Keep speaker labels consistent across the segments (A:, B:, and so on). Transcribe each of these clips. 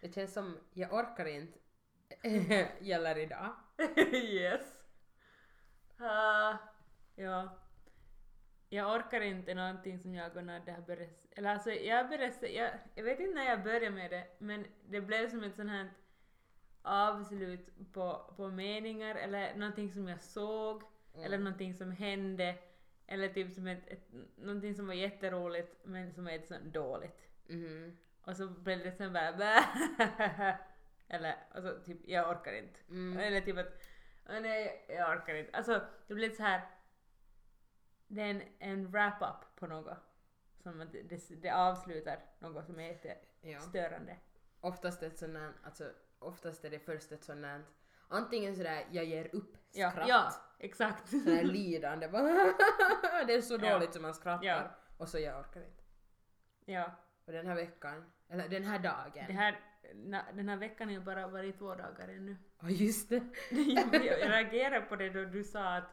A: den som jag orkar inte gäller idag.
B: yes. Ah, ja. Jag orkar inte någonting som jag och Nadde har börjat... Eller alltså jag började... Jag, jag vet inte när jag började med det men det blev som ett sånt här avslut på, på meningar eller någonting som jag såg
A: Mm.
B: eller någonting som hände eller typ som ett, ett, någonting som var jätteroligt men som är sånt dåligt.
A: Mhm.
B: Och så blev det sen bara bä. Eller och så typ jag orkar inte.
A: Mm.
B: Eller typ att "Åh, nej jag orkar inte. Alltså det blir så här det är en, en wrap-up på något. Som att det, det, det avslutar något som är
A: Ja.
B: jättestörande.
A: Oftast, ett sånt där, alltså, oftast är det först ett sånt där antingen sådär jag ger upp
B: Ja,
A: skratt,
B: ja exakt.
A: sådär lidande, bara, det är så
B: Ja.
A: dåligt som man skrattar
B: Ja.
A: och så jag orkar inte.
B: ja.
A: Och den här veckan, eller den här dagen,
B: Det här, na, den här veckan har ju bara varit två dagar ännu.
A: ja just det,
B: jag, jag reagerade på det då du sa att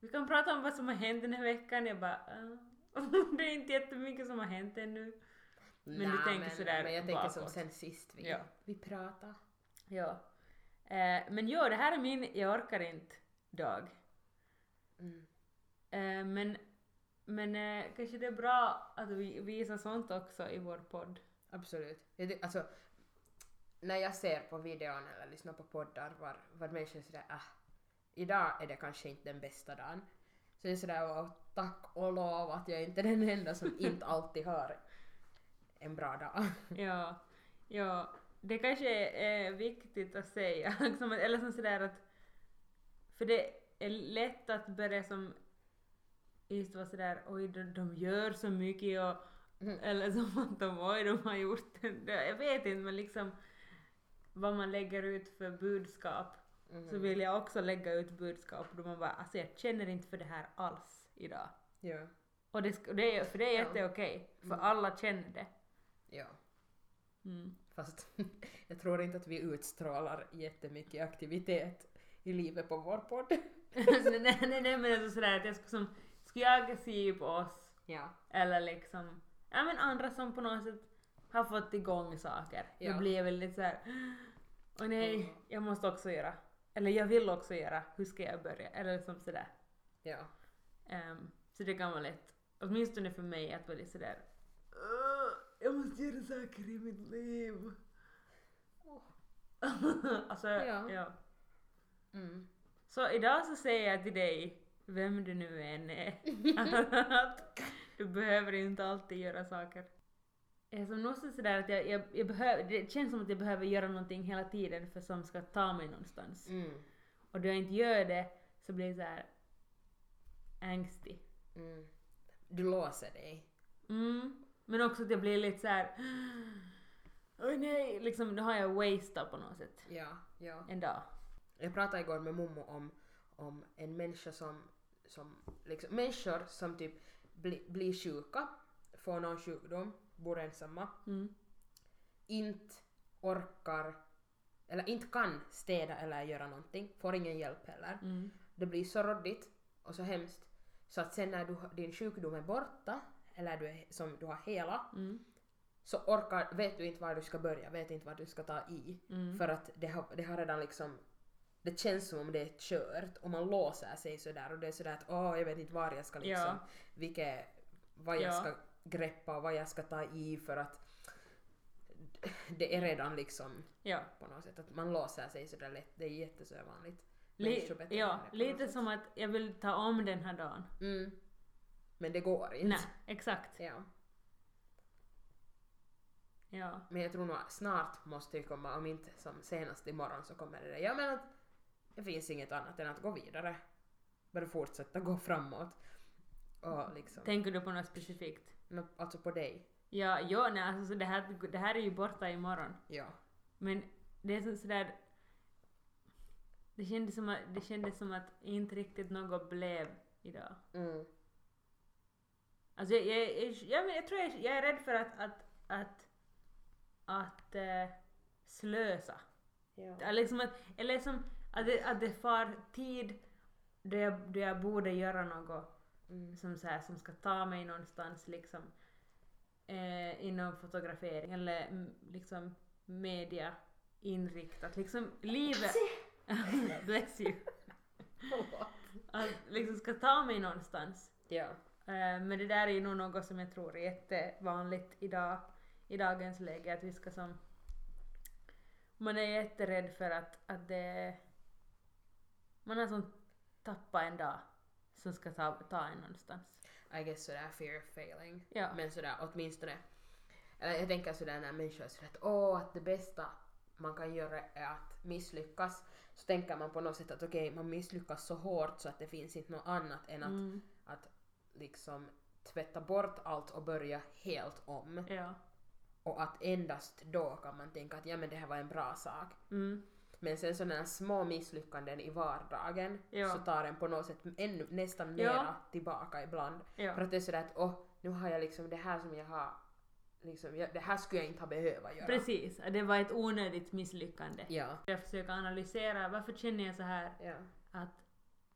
B: vi kan prata om vad som har hänt den här veckan. Jag bara, "Ah." det är inte jättemycket som har hänt ännu. Men du
A: Nä,
B: tänker
A: men,
B: sådär
A: men jag tänker som
B: bakåt.
A: sen sist vi,
B: Ja.
A: vi pratade.
B: Ja. Eh, men jo, det här är min jag orkar inte-dag.
A: Mm.
B: Eh, men men eh, kanske det är bra att vi visar sånt också i vår podd.
A: Absolut. Jag ty- alltså, när jag ser på videon eller lyssnar på poddar var, var människor är sådär ah, idag är det kanske inte den bästa dagen. Så det är sådär wow, tack och lov att jag inte är den enda som inte alltid har en bra dag.
B: Ja, ja. Det kanske är eh, viktigt att säga, liksom, eller som sådär att... För det är lätt att börja som... Just vara sådär, oj de, de gör så mycket och...
A: Mm.
B: Eller som att de, oj de har gjort en dö-" Jag vet inte men liksom vad man lägger ut för budskap så
A: Mhm.
B: vill jag också lägga ut budskap då man bara alltså jag känner inte för det här alls idag.
A: Ja.
B: Och det, sk- och det, är- för det är
A: Ja.
B: jätteokej, för
A: Mm.
B: alla känner det.
A: ja.
B: Mm.
A: Fast jag tror inte att vi utstrålar jättemycket aktivitet i livet på vår podd.
B: nej, nej, nej, nej, men alltså sådär att jag skulle som, skulle jag se på oss
A: Ja.
B: eller liksom, ja men andra som på något sätt har fått igång saker.
A: Ja. Mm.
B: Då blir jag väl lite såhär, åh nej, jag måste också göra. Eller jag vill också göra, hur ska jag börja? Eller liksom sådär.
A: Ja.
B: Ehm, så det kan vara lätt, åtminstone för mig att vara lite sådär, "Åh, jag måste göra saker i mitt liv.
A: Åh.
B: alltså,
A: Ja.
B: ja.
A: Mm.
B: Så idag så säger jag till dig, vem du nu än är, att du behöver inte alltid göra saker. Jag är som någonstans sådär att jag, jag, jag behöver, det känns som att jag behöver göra någonting hela tiden för som ska ta mig någonstans.
A: Mm.
B: Och då jag inte gör det så blir jag såhär ängslig.
A: Mm. Du låser dig.
B: Mm. Men också att jag blir lite såhär åh nej, liksom då har jag wasted på något sätt
A: Ja, ja.
B: en dag.
A: Jag pratade igår med Momo om, om en människa som, som liksom, människor som typ bli, blir sjuka, får någon sjukdom, bor ensamma,
B: Mm.
A: inte orkar eller inte kan städa eller göra någonting, får ingen hjälp heller.
B: Mm.
A: Det blir så råddigt och så hemskt så att sen när du, din sjukdom är borta eller du är, som du har hela
B: Mm.
A: så orkar, vet du inte var du ska börja, vet inte vad du ska ta i.
B: Mm.
A: För att det har, det har redan liksom, det känns som om det är kört och man låser sig sådär och det är sådär att åh jag vet inte var jag ska liksom,
B: Ja.
A: vilket, vad jag
B: Ja.
A: ska greppa och vad jag ska ta i för att det är redan liksom
B: Ja.
A: på något sätt att man låser sig sådär lätt, det är jättesövanligt.
B: Li-
A: Människobeteende
B: ja,
A: på något
B: lite
A: sätt.
B: som att jag vill ta om den här dagen.
A: Mm. Men det går inte.
B: Nej, exakt.
A: Ja.
B: Ja.
A: Men jag tror nog snart måste det komma, om inte som senast imorgon så kommer det där. Jag menar att det finns inget annat än att gå vidare. Bara fortsätta gå framåt. Och liksom,
B: Tänker du på något specifikt?
A: men alltså på dig.
B: Ja, ja nej, alltså så det här, det här är ju borta imorgon.
A: Ja.
B: Men det är som sådär... Det kändes, som att, det kändes som att inte riktigt något blev idag.
A: Mm.
B: Alltså jag, jag, jag, jag, men jag tror jag, jag är rädd för att, att, att, att eh, slösa.
A: Ja.
B: Ja, Liksom att, eller som att det, att det far tid då jag, då jag borde göra något
A: Mm.
B: som, så här, som ska ta mig någonstans liksom eh, inom fotografering eller mm, liksom media inriktat. Liksom livet... Bless you. Att liksom ska ta mig någonstans.
A: ja.
B: Eh, Men det där är ju nog något som jag tror är jättevanligt idag, i dagens läge. Att vi ska som... Man är jätterädd för att, att det... Man har som tappat en dag som ska ta, ta en någonstans.
A: I guess sådär fear of failing.
B: Ja.
A: Men sådär åtminstone. Eller jag tänker sådär när människor är sådär att åh, att det bästa man kan göra är att misslyckas. Så tänker man på något sätt att okej, man misslyckas så hårt så att det finns inte något annat än att,
B: Mm.
A: att liksom tvätta bort allt och börja helt om.
B: Ja.
A: Och att endast då kan man tänka att ja men det här var en bra sak.
B: Mm.
A: Men sen sådana här små misslyckanden i vardagen
B: Ja.
A: så tar den på något sätt ännu, nästan
B: Ja.
A: mera tillbaka ibland. För
B: Ja.
A: att det är sådär att åh, nu har jag liksom det här som jag har, liksom, jag, det här skulle jag inte ha behövt göra.
B: Precis, att det var ett onödigt misslyckande.
A: Ja.
B: Jag försöker analysera varför känner jag så här
A: ja.
B: att,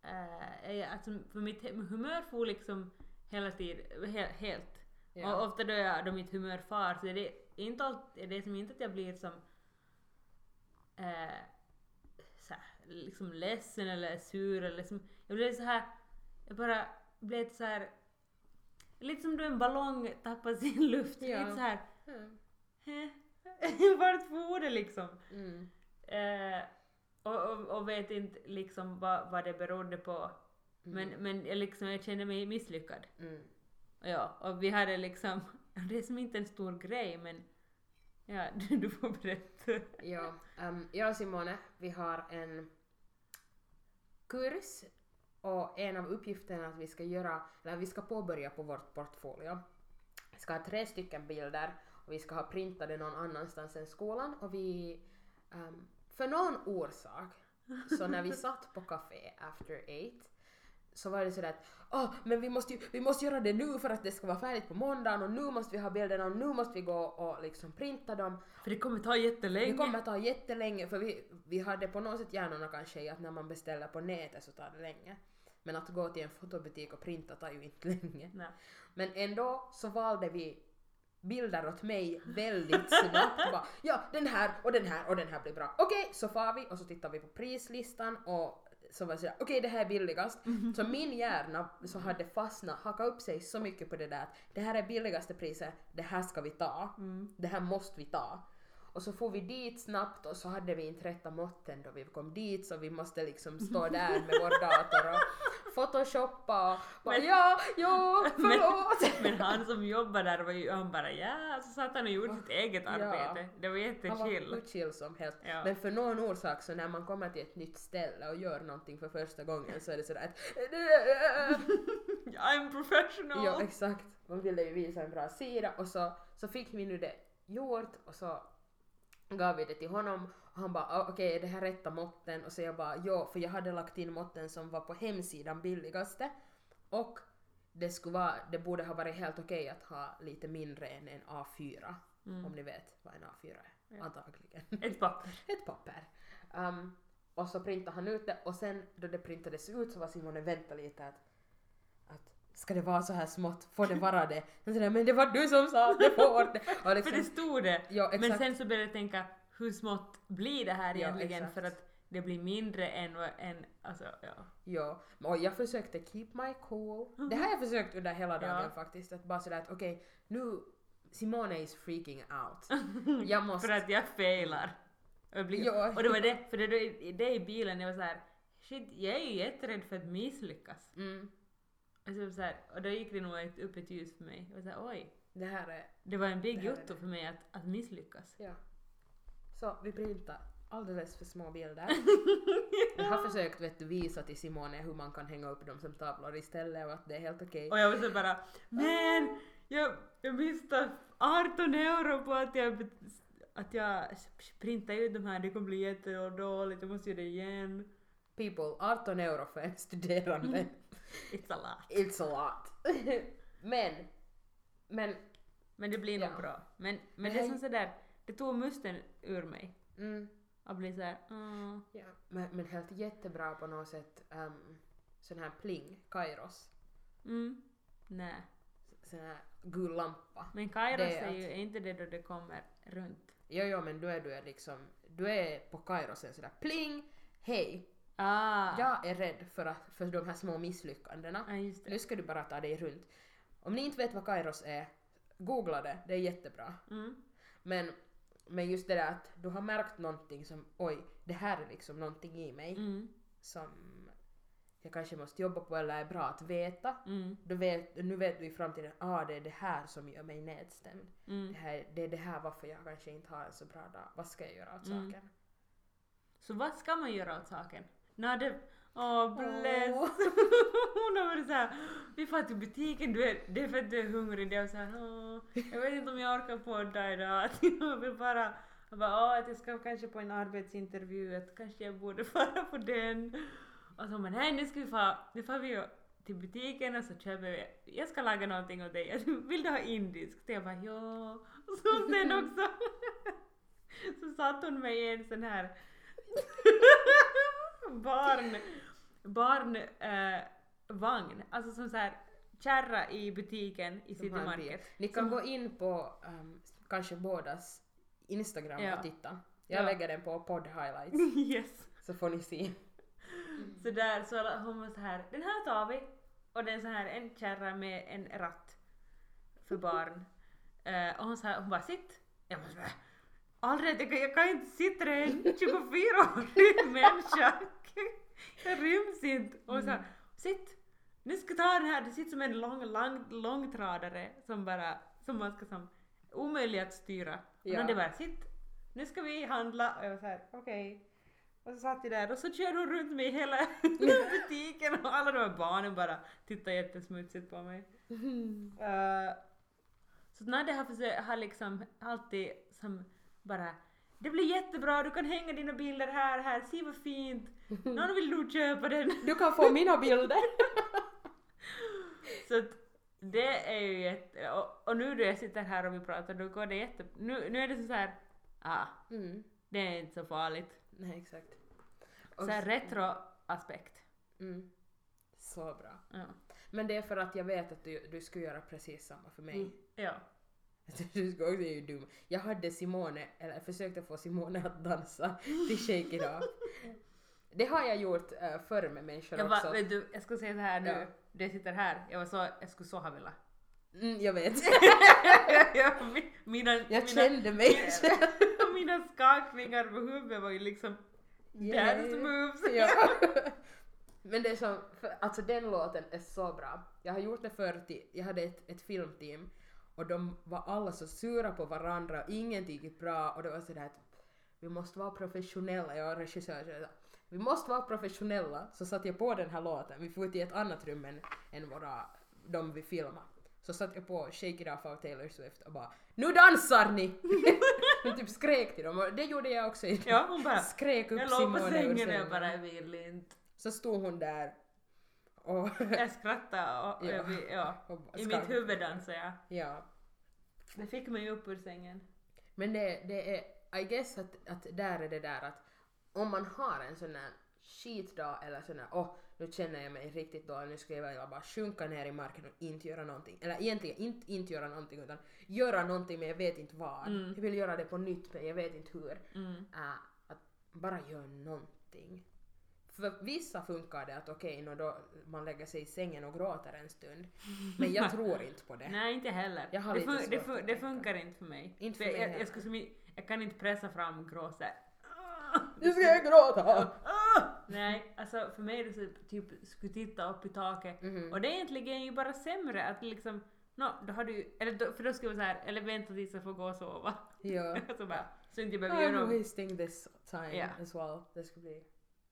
B: eh, är jag- alltså, för mitt he- humör får liksom hela tiden, he, helt.
A: Ja.
B: Och ofta då, jag, då mitt humör far så är det inte alltid, det är som inte att jag blir som eh, så här, liksom ledsen eller sur eller som, jag blir så här, jag bara blir lite så här lite som då en ballong tappar sin luft,
A: Ja.
B: lite så här
A: Mm.
B: "Hä? vart for det liksom?
A: Mm.
B: Eh, och, och, och vet inte liksom vad, vad det berodde på. Men, men jag, liksom, jag kände mig misslyckad.
A: Mm.
B: Och Ja, och vi hade liksom, det är som inte en stor grej men ja, du, du får berätta.
A: Ja. ehm, jag och Simone, vi har en kurs och en av uppgifterna är att vi ska göra, eller vi ska påbörja på vårt portfolio. Vi ska ha tre stycken bilder och vi ska ha printade någon annanstans än skolan och vi, ehm, för någon orsak, så när vi satt på café after eight så var det sådär att åh, men vi måste, ju, vi måste göra det nu för att det ska vara färdigt på måndagen och nu måste vi ha bilderna och nu måste vi gå och liksom printa dem
B: För det kommer ta jättelänge.
A: det kommer ta jättelänge för vi, vi hade på något sätt hjärnorna kanske i att när man beställer på nätet så tar det länge. Men att gå till en fotobutik och printa tar ju inte länge.
B: Nej.
A: Men ändå så valde vi bilder åt mig väldigt snabbt. Bara, ja, den här och den här och den här blir bra. Okej, så far vi och så tittar vi på prislistan och så var det sådär, okej det här är billigast. Så min hjärna så hade fastnat, hakat upp sig så mycket på det där att det här är billigaste priset, det här ska vi ta,
B: Mm.
A: det här måste vi ta. Och så får vi dit snabbt och så hade vi inte rätta måtten då vi kom dit så vi måste liksom stå där med vår dator och photoshoppa och bara,
B: Men-
A: ja, ja, förlåt!
B: Men han som jobbar där var ju, han bara ja, så satt han och gjorde sitt eget
A: Ja.
B: arbete. Det var
A: Han var
B: jättechill.
A: hur chill som helst.
B: Ja.
A: Men för någon orsak så när man kommer till ett nytt ställe och gör någonting för första gången så "Äh, är det sådär att
B: I'm professional!
A: Ja exakt. Man ville ju visa en bra sida och så, så fick vi nu det gjort och så gav vi det till honom och han bara "Ah, okej är det här rätta måtten och så jag bara ja för jag hade lagt in måtten som var på hemsidan billigaste och det skulle vara, det borde ha varit helt okej att ha lite mindre än en A4 om ni vet vad en A4 är antagligen
B: Ett papper.
A: ett papper. Ehm, och så printade han ut det och sen då det printades ut så var Simone vänta lite att, att ska det vara så här smått, får det vara det? Han sa men det var du som sa att det får det. Och
B: För det
A: liksom,
B: stod det.
A: Ja, exakt.
B: Men sen så började jag tänka, hur smått blir det här
A: Ja,
B: egentligen?
A: exakt.
B: för att det blir mindre än, vad- än alltså, ja.
A: ja. Och jag försökte keep my cool. Det här har jag försökt under hela dagen
B: Mhm. Ja.
A: faktiskt. Att bara sådär att okej, nu Simone is freaking out. Jag
B: För
A: måste...
B: att jag failar. Och, jag blir,
A: Ja.
B: och det var det, för det, det, det i bilen, jag var såhär, shit, jag är ju jätterädd för att misslyckas.
A: Mm,
B: Och, så var det så här, och då gick det nog ett, upp ett ljus för mig. Jag var såhär, oj.
A: det här är...
B: Det var en
A: Det
B: big
A: här är
B: jotto för mig att, att misslyckas.
A: Ja. Så vi printar alldeles för små bilder. Jag har försökt vet du, visa till Simone hur man kan hänga upp dem som tavlor istället och att det är helt okej.
B: Och jag var så bara, men jag, jag missade 18 euro på att jag, bet- att jag printade ut de här, det kommer bli jättedåligt, jag måste göra det igen.
A: People, 18 euro för en studerande.
B: It's a lot.
A: It's a lot. men, men,
B: Men det blir nog
A: Ja.
B: bra. Men, men
A: Men
B: det är
A: hej.
B: som sådär, det tog musten ur mig.
A: mm,
B: Att bli såhär, mm.
A: ja. men, men helt jättebra på något sätt. Um, sån här pling, Kairos.
B: mm. Nej.
A: Sån här gul lampa.
B: Men Kairos
A: Det
B: är,
A: är
B: ju, är inte det då det kommer runt?
A: Jo, jo, men då är du liksom, du är på Kairo sen sådär pling, hej,
B: Ah.
A: jag är rädd för, att, för de här små misslyckandena.
B: Ja, just det.
A: Nu ska du bara ta dig runt. Om ni inte vet vad Kairos är, googla det, det är jättebra.
B: Mm.
A: Men, men just det där att du har märkt någonting som, oj, det här är liksom någonting i mig
B: Mm.
A: som jag kanske måste jobba på eller är bra att veta.
B: Mm.
A: Du vet, nu vet du i framtiden, ah, det är det här som gör mig nedstämd. Det,
B: Mm.
A: här, det är det här varför jag kanske inte har en så bra dag. Vad ska jag göra åt
B: Mm.
A: saken?
B: Så vad ska man göra åt saken? Nå det... Åh, bless!
A: Åh.
B: Hon har varit såhär, vi far till butiken, du är, det är för att du är hungrig. Det är såhär, åh, jag vet inte om jag orkar podda idag. Att jag vill bara, jag bara, åh, att jag ska kanske på en arbetsintervju, att kanske jag borde fara på den. Och så men nej nu ska vi fara, nu far vi ju till butiken och så köper vi, jag ska laga någonting åt dig, vill du ha indiskt? Jag bara ja. Och så sen också, så satte hon mig i en sån här barn, barn eh, vagn, alltså som så här kärra i butiken i
A: De har en bild.
B: Citymarket.
A: Ni kan
B: Som-
A: gå in på ehm, kanske bådas Instagram
B: Ja.
A: och titta. Jag
B: Ja.
A: lägger den på podd highlights
B: yes.
A: så får ni se.
B: Så där så la- hon var så här, den här tar vi. Och den så här en kärra med en ratt för barn. Eh, och hon sa, hon bara sitt. Jag måste bara, aldrig, jag kan, jag kan inte sitta det är en 24-årig människa. Jag ryms inte. Och hon sa, sitt. Nu ska jag ta den här, det sitter som en lång, lång, långtradare som bara, som man ska som, omöjlig att styra.
A: Ja.
B: Men det var sitt. Nu ska vi handla. Och jag var så här, okej. Och så satt jag där och så körde hon runt mig i hela butiken och alla de här barnen bara tittade jättesmutsigt på mig. Eh, så Nadja har, försö- har liksom alltid som bara det blir jättebra, du kan hänga dina bilder här, här, se vad fint. Någon vill nog köpa den.
A: Du kan få mina bilder!
B: Så att det är ju jätte... Och, och nu då jag sitter här och vi pratar, då går det jätte... Nu, nu är det så här, ah,
A: Mm.
B: det är inte så farligt.
A: Nej, exakt. Och
B: Så här
A: s-
B: retroaspekt.
A: Mm. Så bra.
B: Ja.
A: Men det är för att jag vet att du, du skulle göra precis samma för
B: Mm.
A: mig.
B: Ja.
A: Du ska också, det är ju dum. Jag hade Simone, eller försökte få Simone att dansa till Shake It Off. Det har jag gjort uh, förr med människor
B: Jag
A: också.
B: bara, vet du, jag ska säga så här nu,
A: Ja.
B: det sitter här, jag var så, jag skulle så ha velat.
A: Mm, jag vet.
B: Jag- mi- mina, mina,
A: Jag kände mig
B: mina skakningar på huvudet var ju liksom dance moves.
A: Ja. Men det är som, för, alltså den låten är så bra. Jag har gjort det förr, till, jag hade ett, ett filmteam och de var alla så sura på varandra och ingenting gick bra och det var sådär att vi måste vara professionella, jag och regissören sa, vi måste vara professionella, så satte jag på den här låten, vi får till ett annat rum än, än våra, de vi filmade. Så satte jag på Shake It Off av Taylor Swift och bara ”Nu dansar ni!” Jag typ skrek till dem och det gjorde jag också.
B: Ja, hon bara,
A: Skrek upp
B: jag låg på
A: Simone ur
B: sängen och
A: sängen.
B: jag bara, jag vill inte.
A: Så stod hon där och...
B: Jag skrattade och,
A: Ja.
B: jag vill, ja.
A: och bara
B: i
A: skalv.
B: mitt huvud dansade jag.
A: Ja.
B: Det fick mig upp ur sängen.
A: Men det, det är, I guess att, att där är det där att om man har en sån där skitdag eller sån där åh, nu känner jag mig riktigt dålig, nu skulle jag vilja bara sjunka ner i marken och inte göra någonting. Eller egentligen inte, inte göra någonting utan göra någonting men jag vet inte vad.
B: Mm.
A: Jag vill göra det på nytt men jag vet inte hur.
B: Mm.
A: Äh, att bara gör någonting. För vissa funkar det att okej, nå då man lägger sig i sängen och gråter en stund. Men jag tror inte på det.
B: Nej, inte heller.
A: Jag har
B: det,
A: lite
B: fun- det,
A: svårt
B: fun-
A: att
B: det
A: tänka.
B: funkar inte för mig.
A: Inte för
B: jag,
A: mig
B: jag,
A: heller.
B: jag, skulle, som i- jag kan inte pressa fram gråt såhär.
A: Nu ska jag gråta!
B: Nej, alltså för mig är det så typ skulle titta upp i taket.
A: Mhm.
B: Och det är egentligen ju bara sämre att liksom, nå, då har du eller då, för då skulle jag vara såhär, eller vänta tills jag får gå och sova.
A: Ja.
B: så bara, så inte jag behöver göra
A: I'm
B: något.
A: wasting this time
B: Ja.
A: as well. Det skulle bli...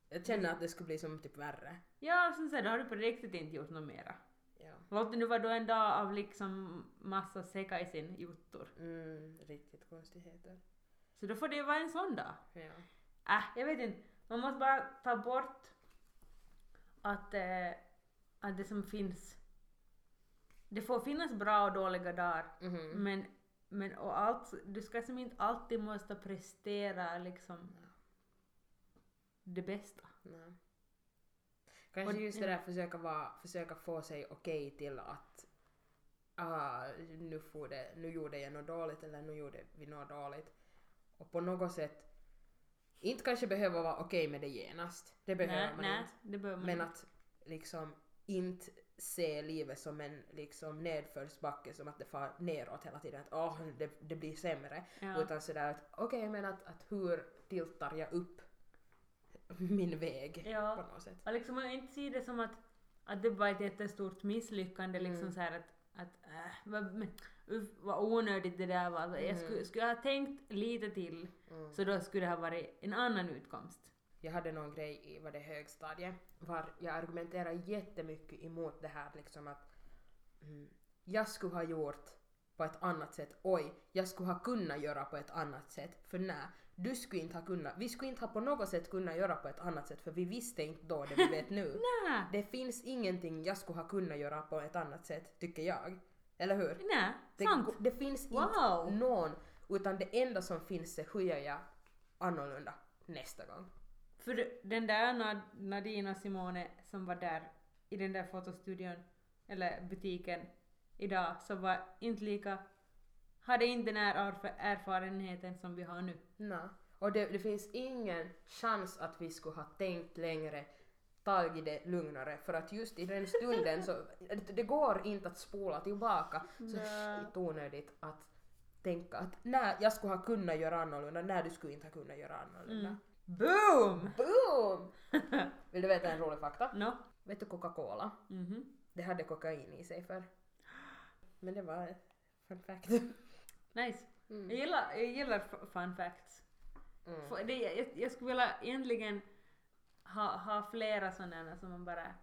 A: Jag känner att det skulle bli som typ värre.
B: Ja, och sen så här, då har du på riktigt inte gjort något mera.
A: Ja.
B: Låt det nu vara då en dag av liksom massa säcka i sin jottor.
A: Mm, riktigt konstigheter.
B: Så då får det ju vara en sån dag.
A: Ja.
B: Äh, jag vet inte. Man måste bara ta bort att, eh, att det som finns. Det får finnas bra och dåliga dagar.
A: Mhm.
B: Men, men och allt, du ska som inte alltid måste prestera liksom det bästa.
A: Nej. Kanske
B: Och-
A: just det där försöka, vara, försöka få sig okej till att ah, nu, får det, nu gjorde jag något dåligt eller nu gjorde vi något dåligt. och på något sätt inte kanske behöver vara okej med det genast. Det behöver
B: nej,
A: man
B: nej,
A: inte.
B: det behöver man
A: Men
B: inte.
A: att liksom inte se livet som en liksom nedförsbacke som att det far neråt hela tiden. Att åh, det, det blir sämre.
B: Ja.
A: Utan sådär att okej men att, att hur tiltar jag upp min väg
B: Ja.
A: på något sätt.
B: Och liksom att inte se det som att, att det bara är ett jättestort misslyckande liksom
A: Mm.
B: så här att, att äh, vad, men, uff, vad onödigt det där var. Alltså, Jag skulle, skulle jag ha tänkt lite till
A: Mm.
B: så då skulle det ha varit en annan utkomst.
A: Jag hade någon grej i vad det är, högstadiet var jag argumenterade jättemycket emot det här liksom att mm, jag skulle ha gjort på ett annat sätt. Oj, jag skulle ha kunnat göra på ett annat sätt. För nej, du skulle inte ha kunnat. Vi skulle inte ha på något sätt kunnat göra på ett annat sätt för vi visste inte då det vi vet nu.
B: Nej,
A: det finns ingenting jag skulle ha kunnat göra på ett annat sätt, tycker jag. Eller hur?
B: nej,
A: Det,
B: sant.
A: det finns
B: Wow.
A: inte någon, utan det enda som finns är hur gör jag annorlunda nästa gång.
B: För den där Nad- Nadine och Simone som var där i den där fotostudion, eller butiken, idag, så var inte lika, hade inte den här erf- erfarenheten som vi har nu.
A: Nej. Och det, det finns ingen chans att vi skulle ha tänkt längre, tagit det lugnare. För att just i den stunden så, det, det går inte att spola tillbaka. Så
B: Nej.
A: shit onödigt att tänka att nej, jag skulle ha kunnat göra annorlunda, nej du skulle inte ha kunnat göra annorlunda.
B: Mm. Boom!
A: Boom! Vill du veta en rolig fakta?
B: No.
A: Vet du Coca-Cola?
B: Mhm.
A: Det hade kokain i sig för. Men det var fun fact.
B: Nice.
A: Mm.
B: Jag gillar, jag gillar f- fun facts.
A: Mm.
B: F- Det, jag, jag skulle vilja egentligen ha, ha flera sådana som man bara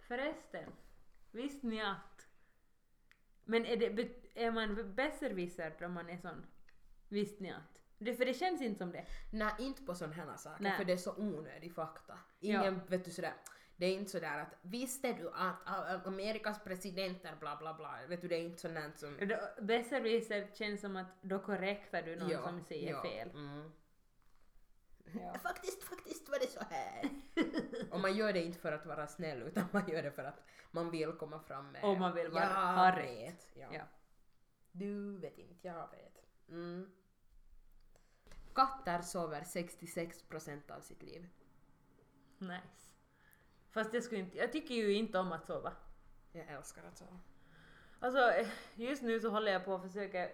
B: Förresten, visste ni att? Men är, det, bet- är man besserwisser om man är sån? Visste ni att? Det, för det känns inte som det.
A: Nej, inte på sådana här saker
B: Nej.
A: för det är så onödig fakta.
B: Ja.
A: Ingen, vet du sådär, det är inte sådär att visste du att ä, ä, Amerikas presidenter bla bla bla, vet du det är inte sånt som...
B: Då- Besserwisser känns som att då korrektar du någon
A: Ja,
B: som säger
A: ja,
B: fel.
A: Mm.
B: Ja.
A: Faktiskt, faktiskt var det så här. Och man gör det inte för att vara snäll utan man gör det för att man vill komma fram med...
B: Och man vill vara-
A: Jag
B: ha rätt."
A: vet, Ja.
B: Ja.
A: Du vet inte, jag vet. Mm. Katter sover 66% av sitt liv.
B: Nice. Fast jag, skulle inte, jag tycker ju inte om att sova.
A: Jag älskar att sova.
B: Alltså eh, just nu så håller jag på att försöka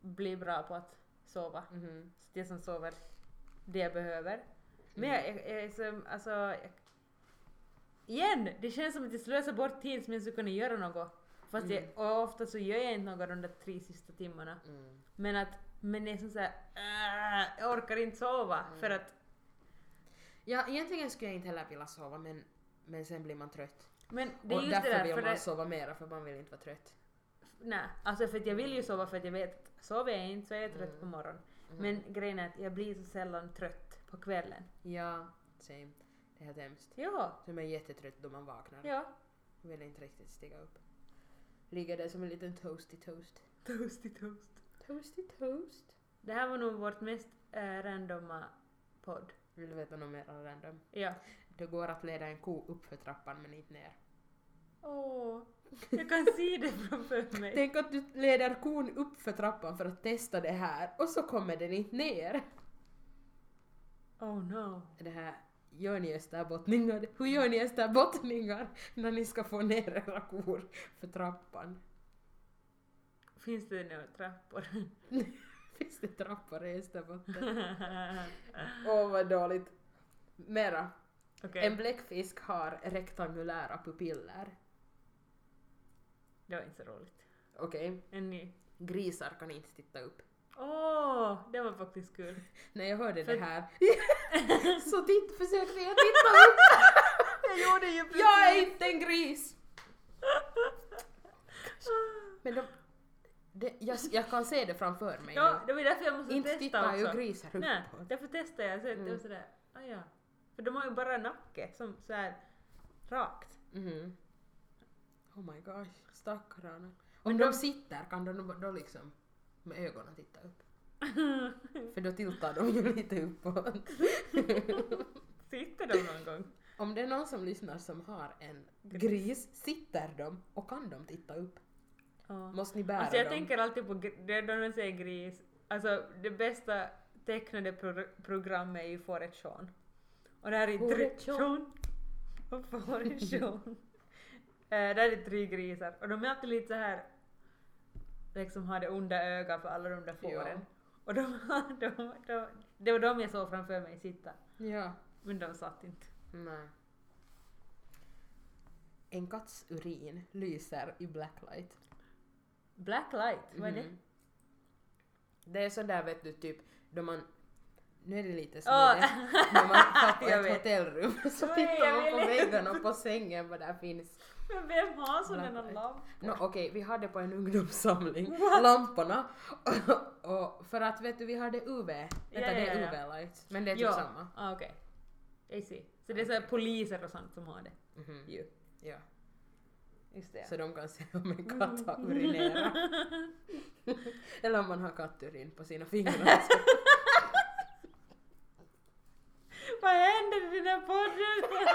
B: bli bra på att sova.
A: Mhm.
B: Så Det som sover, det jag behöver. Men jag,
A: Mm.
B: jag, jag är så, alltså... Jag, igen! Det känns som att jag slösar bort tid som jag skulle kunna göra något. Fast jag, och ofta så gör jag inte något de där tre sista timmarna.
A: Mm.
B: Men att, men det är som såhär, äh, jag orkar inte sova
A: Mm.
B: för att,
A: Ja, egentligen skulle jag inte heller vilja sova men, men sen blir man trött.
B: men det är
A: Och
B: just det
A: därför
B: där,
A: vill
B: för
A: man
B: det,
A: sova mera för man vill inte vara trött.
B: Nej, alltså för att jag vill ju sova för att jag vet att sover jag inte så är jag trött
A: Mm.
B: på morgonen.
A: Mhm.
B: Men grejen är att jag blir så sällan trött på kvällen.
A: Ja, same. Det är helt hemskt.
B: Ja,
A: Så man är jättetrött då man vaknar.
B: ja.
A: Man vill inte riktigt stiga upp. Ligger där som en liten toasty toast.
B: Toasty toast.
A: Toasty toast.
B: Det här var nog vårt mest äh, randoma podd.
A: Vill du veta något mer random?
B: Ja.
A: Det går att leda en ko upp för trappan men inte ner.
B: Åh, jag kan se det framför mig.
A: Tänk att du leder kon upp för trappan för att testa det här och så kommer den inte ner.
B: Oh no.
A: Det här gör ni österbottningar? Hur gör ni österbottningar när ni ska få ner era kor för trappan?
B: Finns det några trappor?
A: Finns det trappor i Österbotten? Åh vad dåligt. Mera.
B: Okej,
A: En bläckfisk har rektangulära pupiller.
B: det var inte så roligt.
A: Okej.
B: En ny.
A: Grisar kan inte titta upp.
B: Åh, det var faktiskt kul.
A: När jag hörde
B: För-
A: det här så titt, försökte jag titta upp.
B: Jag gjorde ju
A: Jag är inte en gris! Men de, det, jag, jag kan se det framför mig
B: Ja,
A: nu.
B: det var ju därför jag måste
A: Inte
B: testa
A: tittar
B: också.
A: ju grisar uppåt.
B: Nej, därför testade jag. Så det var
A: Mm.
B: sådär, ah, ja. För de har ju bara nacke som så här rakt.
A: Mhm. Oh my gosh, stackarna.
B: Men
A: Om
B: de-
A: de sitter kan de då liksom med ögonen titta upp. För då tiltar de ju lite uppåt.
B: Sitter de någon gång?
A: Om det är någon som lyssnar som har en
B: Gris.
A: gris, sitter de och kan de titta upp?
B: Ja.
A: Måste ni bära
B: Alltså jag
A: dem?
B: tänker alltid på, gr- det är då de säger gris, alltså det bästa tecknade pro- programmet är ju Fåret Sean. Och det här är tre...
A: Fåret Sean.
B: Sean! Och Fåret Sean. Eh, där är det tre grisar och de är alltid lite så här liksom har det onda ögat för alla de där
A: Ja.
B: fåren. Och de, de, de, det var de jag såg framför mig sitta.
A: Ja.
B: Men de satt inte.
A: Nej. En katts urin lyser i blacklight.
B: Blacklight, vad är det?
A: Mhm. Det är sån där vet du typ då man... Nu är det lite som
B: Åh.
A: i det- när man satt i
B: Jag
A: ett
B: vet.
A: hotellrum så
B: Nej,
A: tittar man
B: jag
A: på
B: vill inte.
A: väggen och på sängen vad där finns.
B: Men vem har sådana
A: Blacklight.
B: lampor?
A: Nå okej, vi hade på en ungdomssamling
B: What?
A: lamporna och för att vet du vi hade UV. Vänta
B: Ja,
A: det
B: ja,
A: är
B: ja.
A: UV-light. Men det är typ
B: Ja.
A: samma.
B: Ah, okej. I see. Så det är såhär poliser och sånt som har det
A: Mhm.
B: ju.
A: Ja.
B: Just det.
A: Så de kan se om en katt har urinerat. Eller om man har katturin på sina fingrar.
B: Vad händer i den här podden?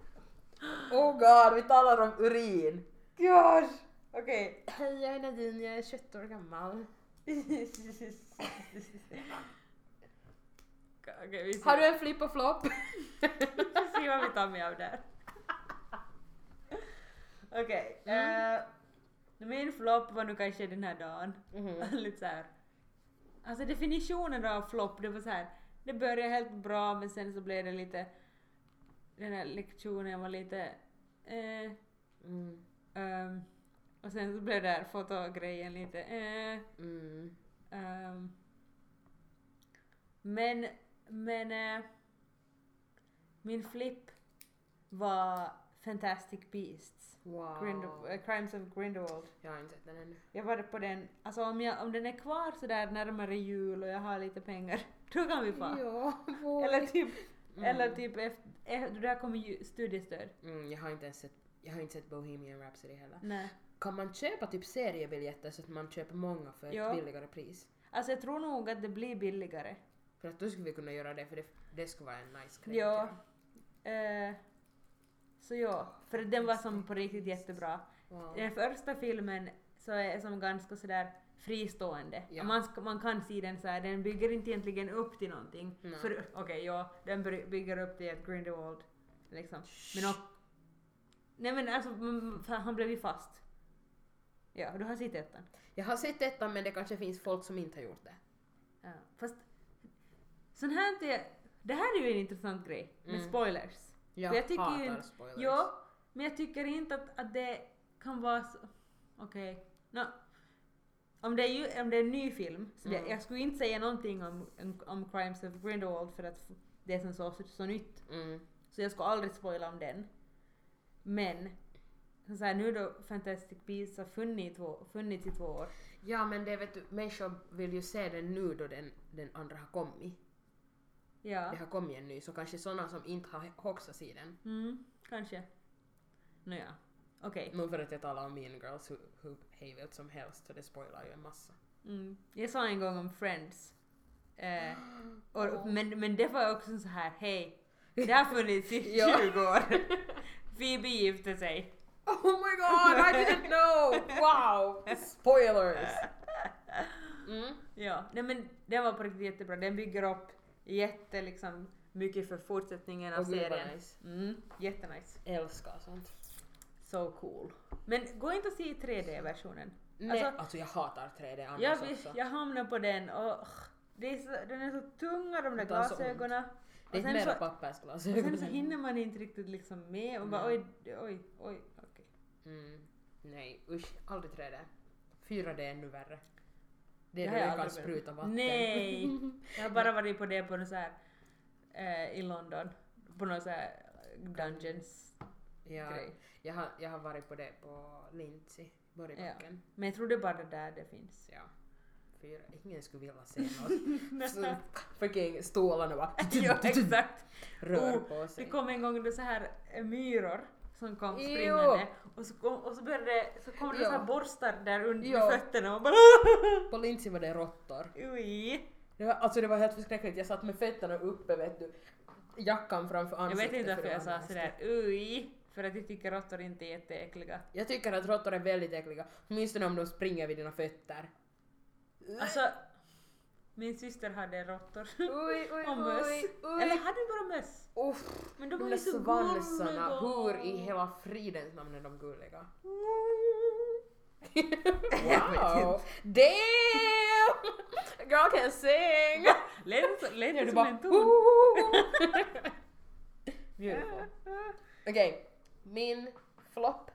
A: oh god, vi talar om urin!
B: Gosh! Okej.
A: Hej, jag är Nadine, jag är 21 år gammal.
B: Okej, vi ser.
A: Har du en flipp och flopp?
B: Vi får se vad vi tar med av där. Okej. eh, min flopp var nog kanske den här dagen. Lite såhär. Alltså definitionen av flopp, det var så här. Det började helt bra men sen så blev det lite... Den här lektionen var lite... Eh,
A: Mm.
B: ehm, och sen så blev det här fotogrejen lite... Eh,
A: Mm.
B: Ehm, men, men eh, min flipp var Fantastic Beasts.
A: Wow.
B: Grind- eh, Crimes of Grindelwald.
A: Jag har inte sett den ännu.
B: Jag var på den, alltså om, jag, om den är kvar sådär närmare jul och jag har lite pengar, då kan vi få.
A: Ja, vår.
B: Eller typ,
A: Mm.
B: eller typ efter, efter, där kommer ju studiestöd.
A: Mm, jag har inte ens sett jag har inte sett Bohemian Rhapsody heller.
B: Nej.
A: Kan man köpa typ seriebiljetter så att man köper många för ett
B: Ja.
A: billigare pris?
B: Alltså jag tror nog att det blir billigare.
A: För att då skulle vi kunna göra det för det, det skulle vara en nice grej.
B: Ja.
A: tycker
B: Eh, så ja, för den var som på riktigt jättebra.
A: jag. Wow.
B: Den första filmen så är som ganska sådär fristående.
A: Ja.
B: Man, ska, man kan se den så här, den bygger inte egentligen upp till någonting.
A: Nej.
B: För Okej, ja, den bry- bygger upp till ett Grindelwald. Liksom. Men och, Nej men alltså, man- fan, han blev ju fast. Ja, du har sett ettan.
A: Jag har sett detta men det kanske finns folk som inte har gjort det.
B: Ja. Fast, sån här inte... Det här är ju en intressant grej, med
A: Mm.
B: spoilers.
A: Jag,
B: För jag tycker
A: hatar
B: ju-
A: spoilers.
B: Ja, men jag tycker inte att, att det kan vara så... Okej. nå, Om, det är ju- om det är en ny film, så det,
A: Mm.
B: jag skulle inte säga någonting om, om, om Crimes of Grindelwald för att f- det är som så, så, så nytt.
A: Mm.
B: Så jag ska aldrig spoila om den. Men, så här, nu då Fantastic Beasts har funnits i två, funnits i två år.
A: Ja men det vet du, människor vill ju se den nu då den, den andra har kommit.
B: Ja,
A: Det har kommit en ny, så kanske såna som inte har hoxat i den.
B: mm, kanske. Nåja, okej.
A: Nog för att jag talar om Mean Girls hur, hur hejvilt som helst, så det spoilar ju en massa.
B: Mm. Jag sa en gång om Friends. Eh, och, men, men det var också så här, hej, det har funnits i
A: Ja.
B: 20 år. Phoebe gifte sig.
A: Oh my god, I didn't know! Wow! Spoilers! Mm.
B: Ja, nej men den var på riktigt jättebra. Den bygger upp jätte, liksom, mycket för fortsättningen av
A: Och gud vad
B: serien.
A: nice.
B: Mm, jättenice.
A: Älskar sånt.
B: So cool. Men gå inte och se 3D-versionen.
A: Nej,
B: Alltså-
A: alltså, jag hatar 3D annars
B: Jag,
A: också.
B: jag hamnar på den och ugh, det är så, den är så tunga de där
A: Det tar så ont.
B: glasögonen.
A: Det är
B: Och sen
A: inte mera
B: så- Och
A: pappersglasögon.
B: sen så hinner man inte riktigt liksom med och bara oj, oj, oj, okej.
A: Mm. Nej, usch. Aldrig 3D. 4D är ännu värre. Det är
B: har
A: då
B: jag
A: du kan
B: aldrig varit
A: spruta vatten.
B: Nej! Jag har bara varit på det på något så här, eh, i London, på någon så här Dungeons
A: Ja,
B: grej.
A: jag, har, jag har varit på det på Lindsey, Borgbacken.
B: Men jag tror det är bara där det finns.
A: Ja. Fyra. Ingen skulle vilja se något. Så Fucking stålarna bara
B: ja, exakt.
A: rör
B: Oh,
A: på
B: Det
A: sig.
B: kom en gång då så här eh, myror som kom
A: Jo.
B: springande och så, kom, och så började det, så kom det så här
A: Jo.
B: borstar där under
A: Jo.
B: fötterna och bara
A: På Lindsey var det råttor.
B: Ui.
A: Det var, alltså det var helt förskräckligt. Jag satt med fötterna uppe vet du. Jackan framför
B: Jag
A: ansiktet.
B: vet inte
A: för
B: varför
A: det
B: jag
A: var
B: sa
A: nästan-
B: sådär ui, för att jag tycker råttor inte är jätteäckliga.
A: Jag tycker att råttor är väldigt äckliga. Åtminstone om de springer vid dina fötter.
B: Alltså, Min syster hade råttor.
A: Oj, oj,
B: och möss.
A: oj,
B: Eller
A: oj.
B: hade hon bara möss?
A: Uff,
B: Men de,
A: de
B: var
A: där
B: ju så
A: svansarna,
B: gulliga.
A: hur i hela fridens namn är de gulliga?
B: Wow!
A: Damn! Girl can sing!
B: Lät det så- lät
A: Ja,
B: det
A: du
B: som
A: bara...
B: en ton?
A: "Ooh." Beautiful. Okej, min flopp.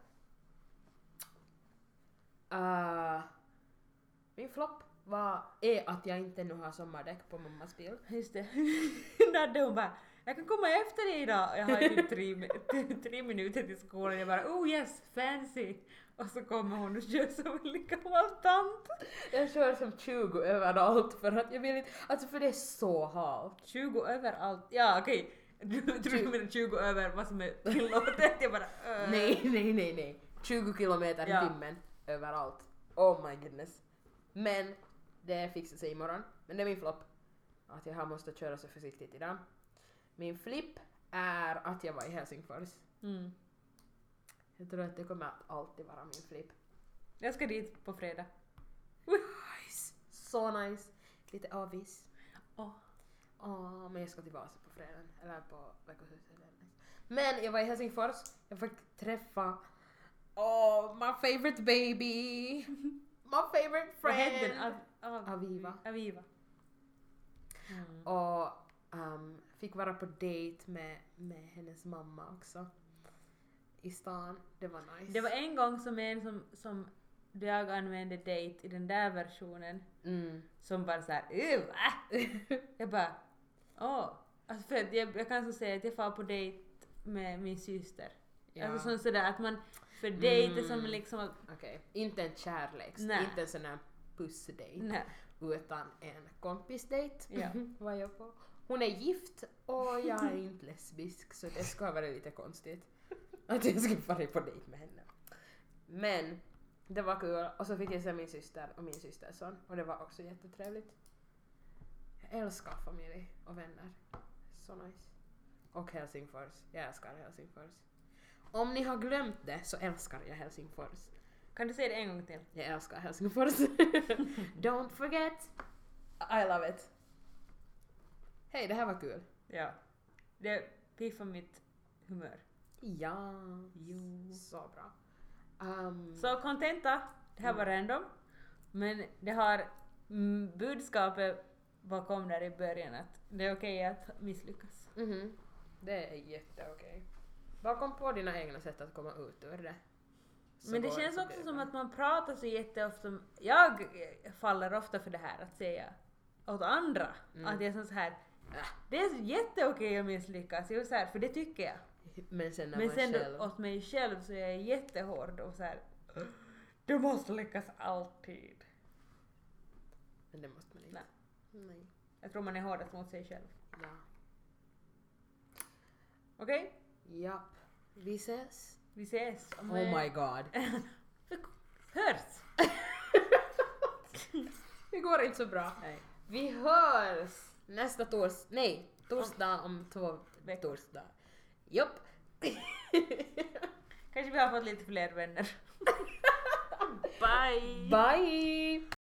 A: Ah, min flopp var, är att jag inte nu har sommardäck på mammas bil.
B: Just det. Nadde hon bara jag kan komma efter dig idag. Jag har typ tre, mi- tre minuter till skolan. Jag bara oh yes, fancy. Och så kommer hon och kör som en gammal tant.
A: Jag kör som 20 överallt för att jag vill inte, alltså för det är så halt.
B: 20 överallt. Ja okej. Du tror du menar 20 över vad som är tillåtet? Jag bara eh.
A: Nej, nej, nej, nej. 20 kilometer i
B: Ja.
A: timmen överallt. Oh my goodness. Men det fixar sig imorgon. Men det är min flopp. Att jag har måste köra så försiktigt idag. Min flipp är att jag var i Helsingfors.
B: Mm.
A: Jag tror att det kommer att alltid vara min flipp.
B: Jag ska dit på fredag.
A: Nice! Så nice. Lite avis.
B: Åh.
A: Åh, men jag ska till Vasa på fredagen. Eller på veckohuset. eller något. Men jag var i Helsingfors. Jag fick träffa oh, my favorite baby. My favorite
B: Vad hette den?
A: friend.
B: Av, av,
A: Aviva.
B: Aviva. Mm.
A: Och ehm, fick vara på dejt med, med hennes mamma också. I stan. Det var nice.
B: Det var en gång som en som, som jag använde date i den där versionen
A: mm.
B: som bara såhär "Ew, va?" Jag bara åh. Alltså för att jag, jag kan så säga att jag far på dejt med min syster.
A: ja.
B: Alltså som sådär att man, för dejt är som
A: Mm.
B: liksom att,
A: Okej. Inte en kärleks...
B: Nej.
A: Inte en sån här pussdejt.
B: nej.
A: utan en kompisdejt
B: Ja.
A: var jag på. Hon är gift och jag är inte lesbisk så det skulle ha varit lite konstigt att jag skulle fara på dejt med henne. Men det var kul och så fick jag se min syster och min systerson och det var också jättetrevligt. Jag älskar familj och vänner. Så nice. Och Helsingfors. Jag älskar Helsingfors. Om ni har glömt det så älskar jag Helsingfors.
B: Kan du säga det en gång till?
A: Jag älskar Helsingfors. Don't forget. I love it. Hej, det här var kul.
B: Ja. Det piffar mitt humör.
A: Ja.
B: Typ. Jo.
A: Så bra. Um,
B: Så kontenta, det här var
A: Mm.
B: random. Men det har mm, budskapet bakom där i början att det är okej att misslyckas.
A: mhm. Det är jätteokej. Bara kom på dina egna sätt att komma ut ur det. Så
B: Men det
A: går
B: känns
A: så
B: också
A: blir
B: som
A: det.
B: att man pratar så jätteofta om, jag eh, faller ofta för det här att säga åt andra
A: Mm.
B: att jag är så här "Ah, det är jätteokej att misslyckas, jag är så här, för det tycker jag.
A: Men sen när
B: Men
A: man
B: sen
A: själv...
B: åt mig själv så är jag jättehård och så här. du måste lyckas alltid.
A: Men det måste man inte.
B: Nej.
A: Nej.
B: Jag tror man är hårdast mot sig själv.
A: Ja.
B: Okej?
A: Japp. Vi ses.
B: Vi ses om
A: Oh my god.
B: Hörs!
A: Det går inte så bra.
B: Nej.
A: Vi hörs nästa tors... Nej, torsdag om två
B: Veckor.
A: torsdag. Jopp.
B: Kanske vi har fått lite fler vänner. Bye!
A: Bye!